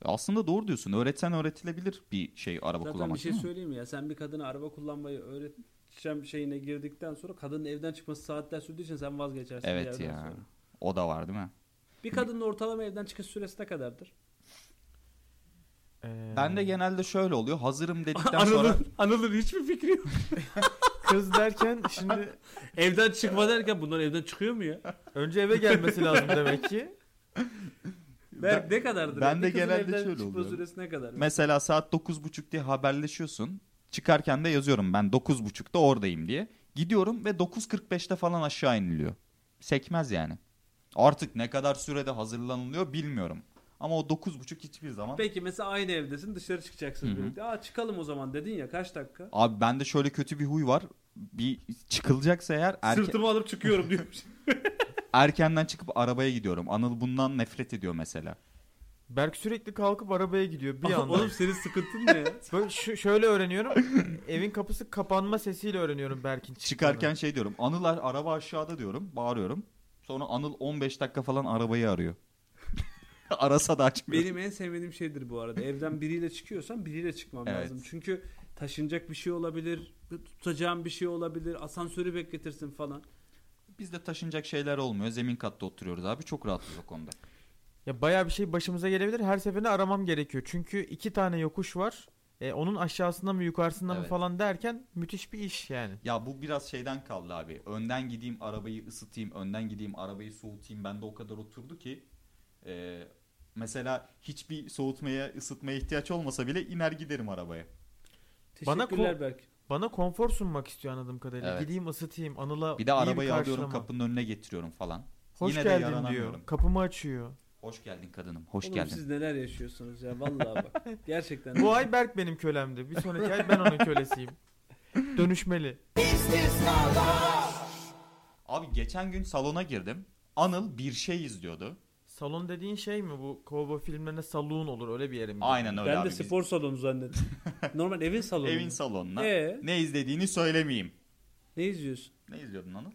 Speaker 2: aslında doğru diyorsun. Öğretsen öğretilebilir bir şey araba
Speaker 3: Zaten
Speaker 2: kullanmak.
Speaker 3: bir şey
Speaker 2: değil mi?
Speaker 3: söyleyeyim mi ya sen bir kadına araba kullanmayı öğreteceğim şeyine girdikten sonra kadının evden çıkması saatler sürdüğü için sen vazgeçersin. bir
Speaker 2: Evet
Speaker 3: yerden
Speaker 2: ya.
Speaker 3: sonra.
Speaker 2: O da var değil mi?
Speaker 3: Bir kadının ortalama evden çıkış süresi ne kadardır?
Speaker 4: Ee,
Speaker 2: Ben de genelde şöyle oluyor. Hazırım dedikten sonra
Speaker 3: Anıl'ın, Anıl'ın hiçbir fikri yok.
Speaker 4: kız derken şimdi
Speaker 3: evden çıkma derken bunlar evden çıkıyor mu ya?
Speaker 4: önce eve gelmesi lazım demek ki.
Speaker 3: Berk ne kadardır?
Speaker 2: ben de
Speaker 3: Bir kızın
Speaker 2: genelde
Speaker 3: evden
Speaker 2: şöyle
Speaker 3: çıkma
Speaker 2: oluyor.
Speaker 3: süresi ne kadar?
Speaker 2: mesela saat 9.30 diye haberleşiyorsun. Çıkarken de yazıyorum ben 9.30'da oradayım diye. Gidiyorum ve 9.45'te falan aşağı iniliyor. Sekmez yani. Artık ne kadar sürede hazırlanılıyor bilmiyorum. Ama o 9.30 hiçbir zaman.
Speaker 3: Peki mesela aynı evdesin dışarı çıkacaksın
Speaker 2: Hı hı.
Speaker 3: birlikte. Aa çıkalım o zaman dedin ya kaç dakika?
Speaker 2: Abi bende şöyle kötü bir huy var. Bir çıkılacaksa eğer erke-
Speaker 3: Sırtımı alıp çıkıyorum diyormuş.
Speaker 2: erkenden çıkıp arabaya gidiyorum. Anıl bundan nefret ediyor mesela.
Speaker 4: Berk sürekli kalkıp arabaya gidiyor bir anda.
Speaker 3: Oğlum senin sıkıntın ne ya?
Speaker 4: Böyle şu- şöyle öğreniyorum. evin kapısı kapanma sesiyle öğreniyorum Berk'in çıktığını.
Speaker 2: Çıkarken şey diyorum. Anılar araba aşağıda diyorum. Bağırıyorum. Sonra Anıl 15 dakika falan arabayı arıyor. Arasa da açmıyor.
Speaker 3: Benim en sevmediğim şeydir bu arada. Evden biriyle çıkıyorsam biriyle çıkmam
Speaker 2: Evet.
Speaker 3: lazım. Çünkü taşınacak bir şey olabilir, tutacağım bir şey olabilir, asansörü bekletirsin falan.
Speaker 2: Bizde taşınacak şeyler olmuyor. Zemin katta oturuyoruz abi. Çok rahatız o konuda.
Speaker 4: Ya bayağı bir şey başımıza gelebilir. Her seferinde aramam gerekiyor. Çünkü iki tane yokuş var. E, onun aşağısından mı yukarısından mı
Speaker 2: Evet.
Speaker 4: falan derken müthiş bir iş yani.
Speaker 2: Ya bu biraz şeyden kaldı abi. Önden gideyim arabayı ısıtayım. Önden gideyim arabayı soğutayım. Bende o kadar oturdu ki. e, mesela hiçbir soğutmaya ısıtmaya ihtiyaç olmasa bile iner giderim arabaya.
Speaker 4: Bana
Speaker 3: Teşekkürler
Speaker 4: ko-
Speaker 3: Berk.
Speaker 4: Bana konfor sunmak istiyor anladığım kadarıyla.
Speaker 2: Evet.
Speaker 4: Gideyim ısıtayım. Anıl'a
Speaker 2: Bir de
Speaker 4: iyi
Speaker 2: arabayı alıyorum
Speaker 4: karşılama.
Speaker 2: kapının önüne getiriyorum falan.
Speaker 4: Hoş
Speaker 2: Yine de
Speaker 4: geldin
Speaker 2: yaranamıyorum.
Speaker 4: diyor. Kapımı açıyor.
Speaker 2: Hoş geldin kadınım. Hoş
Speaker 3: Oğlum
Speaker 2: geldin.
Speaker 3: siz neler yaşıyorsunuz ya vallahi bak. Gerçekten.
Speaker 4: Bu ay Berk benim kölemdi. Bir sonraki ay ben onun kölesiyim. Dönüşmeli.
Speaker 2: Abi geçen gün salona girdim. Anıl bir şey izliyordu.
Speaker 4: Salon dediğin şey mi bu? Kovboy filmlerine saloon olur öyle bir yerim.
Speaker 2: Aynen öyle
Speaker 3: ben
Speaker 2: abi.
Speaker 3: de
Speaker 2: Biz
Speaker 3: spor salonu zannettim. Normal evin salonu.
Speaker 2: evin salonuna.
Speaker 3: Ee?
Speaker 2: Ne izlediğini söylemeyeyim.
Speaker 3: Ne izliyorsun?
Speaker 2: Ne izliyordun Anıl?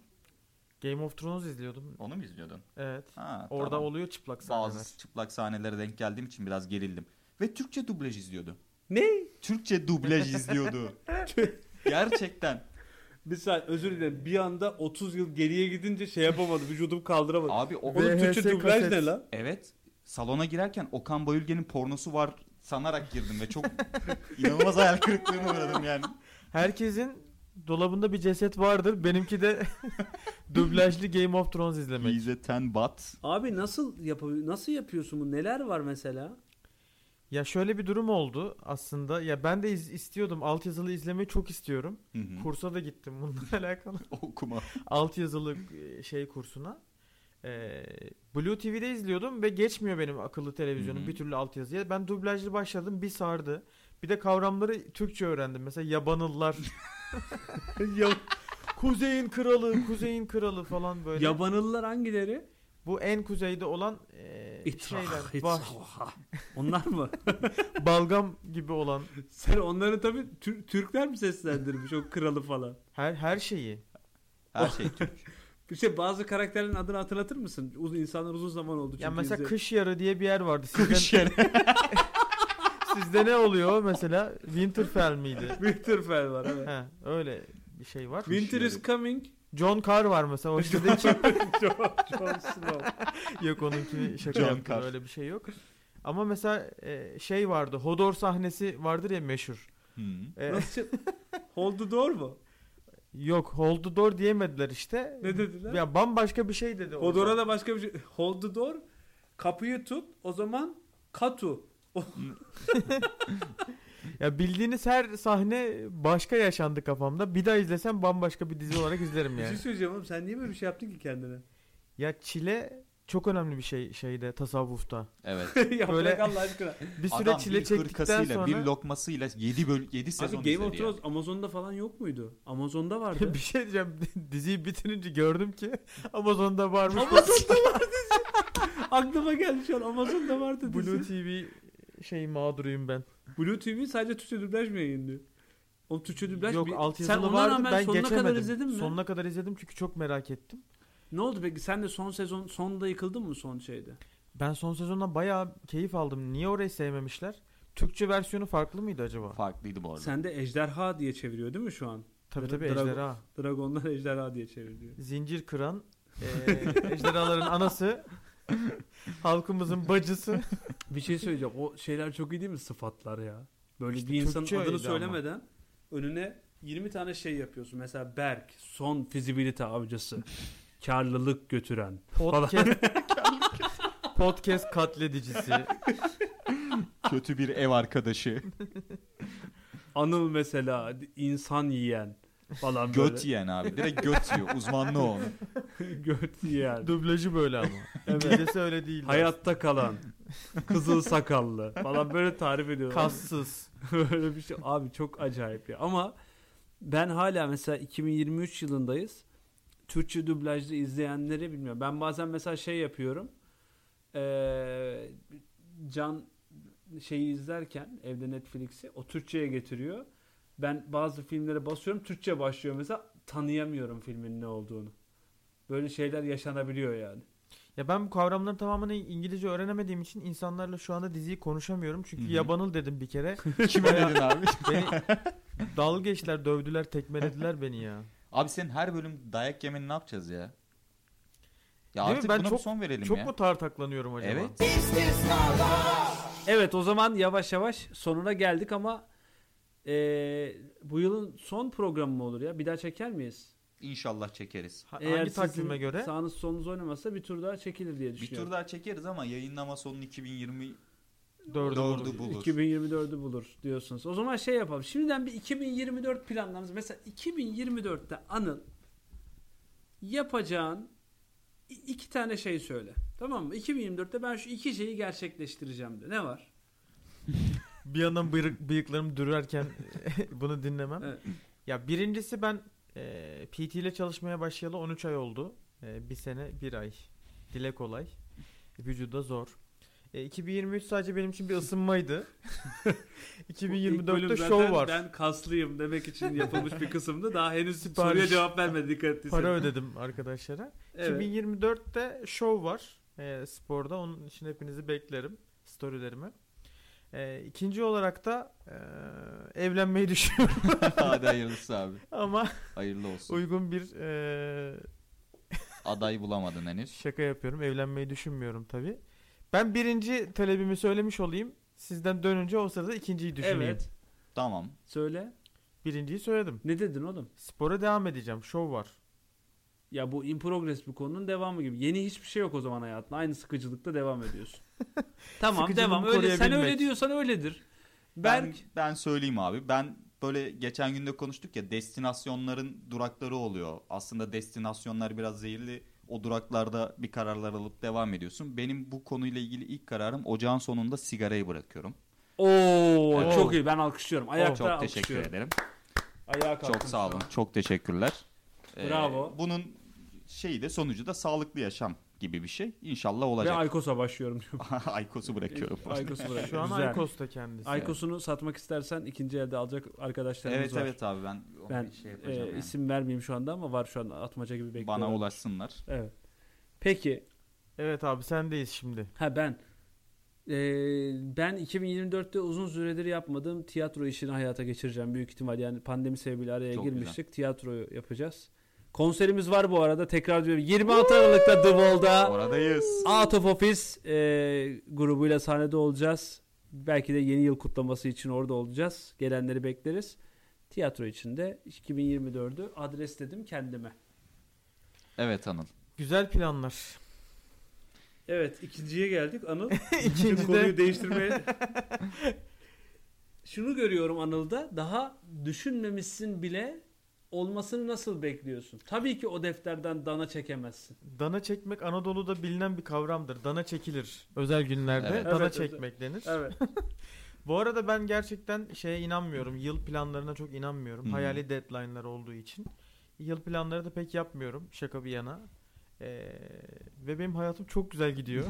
Speaker 4: Game of Thrones izliyordum.
Speaker 2: Onu mu izliyordun?
Speaker 4: Evet.
Speaker 2: Ha,
Speaker 4: Orada
Speaker 2: tamam.
Speaker 4: oluyor çıplak sahneler.
Speaker 2: bazı çıplak sahnelere denk geldiğim için biraz gerildim. Ve Türkçe dublaj izliyordu.
Speaker 3: Ne?
Speaker 2: Türkçe dublaj izliyordu. Gerçekten.
Speaker 3: Bir saat özür dilerim. Bir anda 30 yıl geriye gidince şey yapamadı. Vücudum kaldıramadı.
Speaker 2: Abi o
Speaker 4: Ve- VHS kaset.
Speaker 3: lan?
Speaker 2: evet salona girerken Okan Bayülgen'in pornosu var sanarak girdim ve çok inanılmaz hayal kırıklığına uğradım yani.
Speaker 4: Herkesin dolabında bir ceset vardır. Benimki de dublajlı Game of Thrones izlemek.
Speaker 2: He's a ten bat.
Speaker 3: Abi nasıl yap nasıl yapıyorsun bu? Neler var mesela?
Speaker 4: Ya şöyle bir durum oldu aslında. Ya ben de iz- istiyordum. Altyazılı izlemeyi çok istiyorum.
Speaker 2: Hı hı.
Speaker 4: Kursa da gittim bununla alakalı.
Speaker 2: Okuma.
Speaker 4: altyazılı e, şey kursuna. Ee, Blue TV'de izliyordum ve geçmiyor benim akıllı televizyonum
Speaker 2: Hı hı.
Speaker 4: bir türlü altyazıya. Ben dublajlı başladım bir sardı. Bir de kavramları Türkçe öğrendim. Mesela yabanıllar. Ya- kuzeyin kralı, kuzeyin kralı falan böyle.
Speaker 3: Yabanıllar hangileri?
Speaker 4: Bu en kuzeyde olan e,
Speaker 3: İtrah,
Speaker 4: şeyler. Bah,
Speaker 3: itrah. Onlar mı?
Speaker 4: balgam gibi olan
Speaker 3: Sen onları tabii Tür- Türkler mi seslendirmiş o kralı falan?
Speaker 4: her her şeyi.
Speaker 2: Her şey Türk.
Speaker 3: İşte Şey, bazı karakterlerin adını hatırlatır mısın? Uz insanlar uzun zaman oldu çünkü.
Speaker 4: Ya mesela
Speaker 3: izle-
Speaker 4: kış yarı diye bir yer vardı. Sizde,
Speaker 2: Kış yani.
Speaker 4: sizde ne oluyor mesela? Winterfell miydi?
Speaker 3: Winterfell var evet.
Speaker 4: He, öyle bir şey var.
Speaker 3: Winter is coming.
Speaker 4: John Carr var mesela. O dizide hiç
Speaker 3: Jon, Jon Snow.
Speaker 4: yok onunki şaka
Speaker 2: John
Speaker 4: yaptım.
Speaker 2: Carr.
Speaker 4: Öyle bir şey yok. Ama mesela e, şey vardı. Hodor sahnesi vardır ya meşhur.
Speaker 2: Hı.
Speaker 4: E,
Speaker 3: Nasıl? çı- Hold the door mu?
Speaker 4: yok Hold the Door diyemediler işte.
Speaker 3: Ne dediler?
Speaker 4: Ya bambaşka Hmm. bir şey dedi. orada.
Speaker 3: Hodor'a da başka bir şey. Hold the door. Kapıyı tut. O zaman katu.
Speaker 4: Ya bildiğiniz her sahne başka yaşandı kafamda. Bir daha izlesem bambaşka bir dizi olarak izlerim
Speaker 3: Bir şey
Speaker 4: yani.
Speaker 3: söyleyeceğim oğlum. Sen niye böyle bir şey yaptın ki kendine?
Speaker 4: ya çile çok önemli bir şey şeyde tasavvufta.
Speaker 2: Evet.
Speaker 3: Yaprak
Speaker 4: Böyle-
Speaker 3: Allah aşkına.
Speaker 4: Bir süre
Speaker 2: Adam
Speaker 4: çile
Speaker 2: bir
Speaker 4: çektikten
Speaker 2: hırkasıyla,
Speaker 4: sonra
Speaker 2: bir lokmasıyla 7 böl 7
Speaker 3: Abi
Speaker 2: sezon
Speaker 3: Game of
Speaker 2: izledi ya.
Speaker 3: Thrones Amazon'da falan yok muydu? Amazon'da vardı.
Speaker 4: bir şey diyeceğim. Diziyi bitirince gördüm ki Amazon'da varmış.
Speaker 3: Amazon'da var dizi. Aklıma geldi şu an Amazon'da vardı dizi.
Speaker 4: Blue
Speaker 3: Blue,
Speaker 4: TV şey mağduruyum ben.
Speaker 3: TV sadece Türkçe dublaj mı yayınlıyor? Oğlum Türkçe dublaj
Speaker 4: Yok
Speaker 3: bir-
Speaker 4: altyazılı
Speaker 3: Sen ona
Speaker 4: vardı
Speaker 3: rağmen
Speaker 4: ben
Speaker 3: sonuna
Speaker 4: geçemedim.
Speaker 3: kadar izledin mi?
Speaker 4: Sonuna kadar izledim çünkü çok merak ettim.
Speaker 3: Ne oldu peki? Sen de son sezon sonunda yıkıldın mı son şeyde?
Speaker 4: Ben son sezondan bayağı keyif aldım. Niye orayı sevmemişler? Türkçe versiyonu farklı mıydı acaba?
Speaker 2: Farklıydı bu arada.
Speaker 3: Sen de ejderha diye çeviriyor değil mi şu an?
Speaker 4: Tabii
Speaker 3: Dra-
Speaker 4: tabii
Speaker 3: Drago-
Speaker 4: ejderha.
Speaker 3: Dragonlar ejderha diye çeviriyor.
Speaker 4: Zincir kıran eee, ejderhaların anası. halkımızın bacısı.
Speaker 3: Bir şey söyleyeceğim. O şeyler çok iyi değil mi sıfatlar ya? Böyle
Speaker 4: İşte
Speaker 3: bir insanın
Speaker 4: Türkçe
Speaker 3: adını
Speaker 4: öyleydi ama.
Speaker 3: söylemeden önüne 20 tane şey yapıyorsun. Mesela Berk, son fizibilite avcısı, karlılık götüren.
Speaker 4: Podcast, podcast katledicisi.
Speaker 2: Kötü bir ev arkadaşı,
Speaker 3: Anıl mesela insan yiyen falan böyle.
Speaker 2: göt yiyen abi. Direkt göt yiyor. Uzmanlığı o. onun.
Speaker 3: Göt yiyen.
Speaker 4: Dublajı böyle ama.
Speaker 3: Evet.
Speaker 4: İngilizcesi öyle değil.
Speaker 3: Hayatta kalan. Kızıl sakallı falan böyle tarif ediyorlar.
Speaker 4: Kassız.
Speaker 3: Böyle bir şey. Abi çok acayip ya. Ama ben hala mesela 2023 yılındayız. Türkçe dublajlı izleyenleri bilmiyorum. Ben bazen mesela şey yapıyorum. Ee, Can şeyi izlerken evde Netflix'i o Türkçe'ye getiriyor. Ben bazı filmlere basıyorum Türkçe başlıyor mesela tanıyamıyorum filmin ne olduğunu. Böyle şeyler yaşanabiliyor yani.
Speaker 4: Ya ben bu kavramların tamamını İngilizce öğrenemediğim için insanlarla şu anda diziyi konuşamıyorum. Çünkü
Speaker 2: Hı hı.
Speaker 4: yabanıl dedim bir kere.
Speaker 2: Kime
Speaker 4: Bayağı-
Speaker 2: dedin abi?
Speaker 4: Beni dalga geçtiler, dövdüler, tekmelediler beni ya.
Speaker 2: Abi senin her bölüm dayak yemeni ne yapacağız ya? Ya
Speaker 4: Değil mi?
Speaker 2: artık
Speaker 4: Ben
Speaker 2: buna
Speaker 4: çok-
Speaker 2: bir son verelim
Speaker 4: Çok
Speaker 2: ya.
Speaker 4: mu tartaklanıyorum acaba?
Speaker 2: Evet.
Speaker 3: Evet o zaman yavaş yavaş sonuna geldik ama eee, bu yılın son programı mı olur ya? Bir daha çeker miyiz?
Speaker 2: İnşallah çekeriz.
Speaker 4: Ha-
Speaker 3: Eğer
Speaker 4: hangi
Speaker 3: sizin
Speaker 4: takvime göre?
Speaker 3: Sağınız solunuz oynamazsa bir tur daha çekilir diye
Speaker 2: Bir
Speaker 3: düşünüyorum.
Speaker 2: tur daha çekeriz ama yayınlama sonu 2020
Speaker 4: Dördü
Speaker 2: Dördü bu.
Speaker 4: bulur.
Speaker 2: bulur.
Speaker 3: 2024'ü bulur diyorsunuz. O zaman şey yapalım. Şimdiden bir 2024 planlarınız. Mesela 2024'te Anıl yapacağın i- iki tane şey söyle. Tamam mı? 2024'te ben şu iki şeyi gerçekleştireceğim de. Ne var?
Speaker 4: Bir yandan bıyık, bıyıklarım dürerken bunu dinlemem.
Speaker 3: Evet.
Speaker 4: Ya birincisi ben e, PT ile çalışmaya başlayalı 13 ay oldu. E, bir sene bir ay. Dile kolay. Vücuda zor. E, 2023 sadece benim için bir ısınmaydı.
Speaker 3: Bu ilk
Speaker 4: 2024'te
Speaker 3: bölüm
Speaker 4: şov
Speaker 3: zaten
Speaker 4: var.
Speaker 3: Ben kaslıyım demek için yapılmış bir kısımda daha henüz
Speaker 4: Sipariş.
Speaker 3: soruya cevap vermedi dikkat ettiysen.
Speaker 4: Para ödedim arkadaşlara.
Speaker 3: Evet.
Speaker 4: 2024'te show var e, sporda. Onun için hepinizi beklerim storylerimi. E, ikinci olarak da e, evlenmeyi düşünüyorum
Speaker 2: Hadi hayırlısı abi.
Speaker 4: ama
Speaker 2: Hayırlı olsun.
Speaker 4: uygun bir e,
Speaker 2: Aday bulamadın henüz.
Speaker 4: şaka yapıyorum. Evlenmeyi düşünmüyorum tabii. Ben birinci talebimi söylemiş olayım. Sizden dönünce o sırada ikinciyi düşüneyim.
Speaker 3: Evet.
Speaker 2: Tamam.
Speaker 3: Söyle.
Speaker 4: Birinciyi söyledim.
Speaker 3: Ne dedin oğlum?
Speaker 4: Spora devam edeceğim. Şov var.
Speaker 3: Ya bu in progress bir konunun devamı gibi. Yeni hiçbir şey yok o zaman hayatında. Aynı sıkıcılıkta devam ediyorsun. tamam
Speaker 4: Sıkıcılığını
Speaker 3: devam. Öyle, sen
Speaker 4: koruyabilmek.
Speaker 3: öyle diyorsan öyledir.
Speaker 2: Ben,
Speaker 3: Berk
Speaker 2: ben söyleyeyim abi. Ben böyle geçen günde konuştuk ya destinasyonların durakları oluyor. Aslında destinasyonlar biraz zehirli. O duraklarda bir kararlar alıp devam ediyorsun. Benim bu konuyla ilgili ilk kararım ocağın sonunda sigarayı bırakıyorum.
Speaker 3: Oo,
Speaker 4: Evet.
Speaker 3: çok iyi ben alkışlıyorum. Ayakta
Speaker 2: Çok teşekkür
Speaker 3: alkışlıyorum.
Speaker 2: ederim.
Speaker 3: Ayağa kalktım.
Speaker 2: Çok sağ olun. Çok teşekkürler. Ee,
Speaker 3: Bravo.
Speaker 2: bunun şeyi de sonucu da sağlıklı yaşam gibi bir şey. İnşallah
Speaker 3: Ve
Speaker 2: olacak.
Speaker 3: Aykos'a başlıyorum.
Speaker 2: Aykos'u bırakıyorum.
Speaker 3: Aykos'u bırak.
Speaker 4: Şu an
Speaker 3: Güzel.
Speaker 4: Aykos'ta kendisi.
Speaker 3: Aykos'unu satmak istersen ikinci elde alacak arkadaşlarımız
Speaker 2: evet
Speaker 3: var.
Speaker 2: evet abi ben, onu
Speaker 3: Ben,
Speaker 2: şey
Speaker 3: Ee,
Speaker 2: yapacağım yani.
Speaker 3: isim vermeyeyim şu anda ama var şu an atmaca gibi bekliyorlar.
Speaker 2: Bana ulaşsınlar.
Speaker 3: Evet. Peki
Speaker 4: Evet abi sendeyiz şimdi.
Speaker 3: ha ben Ee, ben 2024'te uzun süredir yapmadığım tiyatro işini hayata geçireceğim büyük ihtimal. Yani pandemi sebebiyle araya
Speaker 2: Çok
Speaker 3: girmiştik. Tiyatro yapacağız. Konserimiz var bu arada. Tekrar diyorum 26 Aralık'ta The Wall'da.
Speaker 2: Oradayız.
Speaker 3: Out of Office e, grubuyla sahnede olacağız. Belki de yeni yıl kutlaması için orada olacağız. Gelenleri bekleriz. Tiyatro için de 2024'ü adres dedim kendime.
Speaker 2: Evet Anıl.
Speaker 4: Güzel planlar.
Speaker 3: Evet ikinciye geldik Anıl.
Speaker 4: İkincide-
Speaker 3: konuyu değiştirmeye. Şunu görüyorum Anıl'da daha düşünmemişsin bile olmasını nasıl bekliyorsun? Tabii ki o defterden dana çekemezsin.
Speaker 4: Dana çekmek Anadolu'da bilinen bir kavramdır. Dana çekilir. Özel günlerde
Speaker 2: Evet.
Speaker 4: dana
Speaker 3: Evet,
Speaker 4: çekmek denir.
Speaker 3: Evet.
Speaker 4: Bu arada ben gerçekten şeye inanmıyorum. Yıl planlarına çok inanmıyorum.
Speaker 3: Hmm.
Speaker 2: Hı.
Speaker 4: Hayali deadline'lar olduğu için. Yıl planları da pek yapmıyorum. Şaka bir yana. Ee, ve benim hayatım çok güzel gidiyor.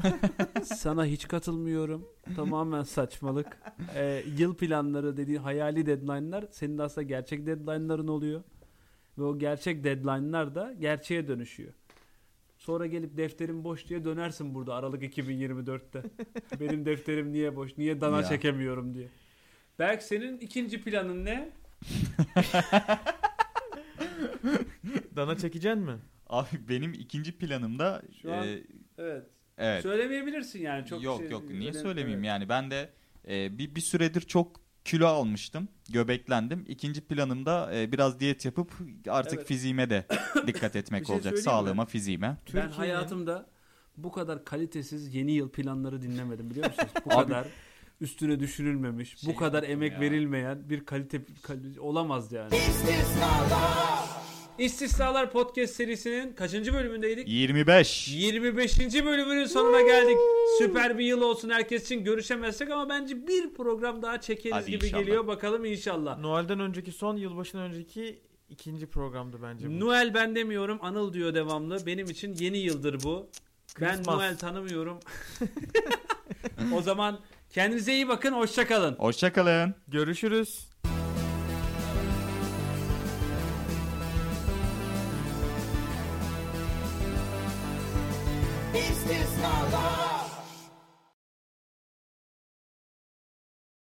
Speaker 3: Sana hiç katılmıyorum. Tamamen saçmalık. Ee, yıl planları dediği hayali deadline'lar senin de aslında gerçek deadline'ların oluyor. Ve o gerçek deadline'lar da gerçeğe dönüşüyor. Sonra gelip defterim boş diye dönersin burada Aralık 2024'te. Benim defterim niye boş? Niye dana
Speaker 2: Ya.
Speaker 3: çekemiyorum diye. Berk senin ikinci planın ne?
Speaker 4: dana çekeceksin mi?
Speaker 2: Abi benim ikinci planımda
Speaker 3: Şu an-
Speaker 2: e,
Speaker 3: Evet.
Speaker 2: evet.
Speaker 3: Söylemeyebilirsin yani çok
Speaker 2: yok
Speaker 3: şey-
Speaker 2: yok niye
Speaker 3: önemli-
Speaker 2: söylemeyeyim
Speaker 3: evet.
Speaker 2: yani ben de e, bir bir süredir çok kilo almıştım. Göbeklendim. İkinci planımda e, biraz diyet yapıp artık
Speaker 3: Evet.
Speaker 2: fiziğime de dikkat
Speaker 3: Bir
Speaker 2: etmek
Speaker 3: şey
Speaker 2: olacak.
Speaker 3: söyleyeyim mi?
Speaker 2: Sağlığıma, fiziğime.
Speaker 3: ben
Speaker 4: Türkiye'nin-
Speaker 3: hayatımda bu kadar kalitesiz yeni yıl planları dinlemedim biliyor musunuz? Bu
Speaker 2: Abi-
Speaker 3: kadar üstüne düşünülmemiş,
Speaker 2: Şey
Speaker 3: bu kadar
Speaker 2: yaptım
Speaker 3: emek
Speaker 2: ya.
Speaker 3: verilmeyen bir kalite, kal- olamaz yani. İstisnalar. İstisnalar podcast serisinin kaçıncı bölümündeydik?
Speaker 2: 25.
Speaker 3: 25. bölümünün sonuna geldik. Süper bir yıl olsun herkes için. Görüşemezsek ama bence bir program daha çekeriz
Speaker 2: Hadi
Speaker 3: gibi
Speaker 2: inşallah.
Speaker 3: geliyor. Bakalım inşallah.
Speaker 4: Noel'den önceki son yılbaşından önceki ikinci programdı bence bu.
Speaker 3: Noel ben demiyorum Anıl diyor devamlı. Benim için yeni yıldır bu. Ben
Speaker 4: Christmas.
Speaker 3: Noel tanımıyorum. o zaman kendinize iyi bakın. Hoşçakalın.
Speaker 2: Hoşçakalın.
Speaker 4: Görüşürüz.
Speaker 1: Is this my life?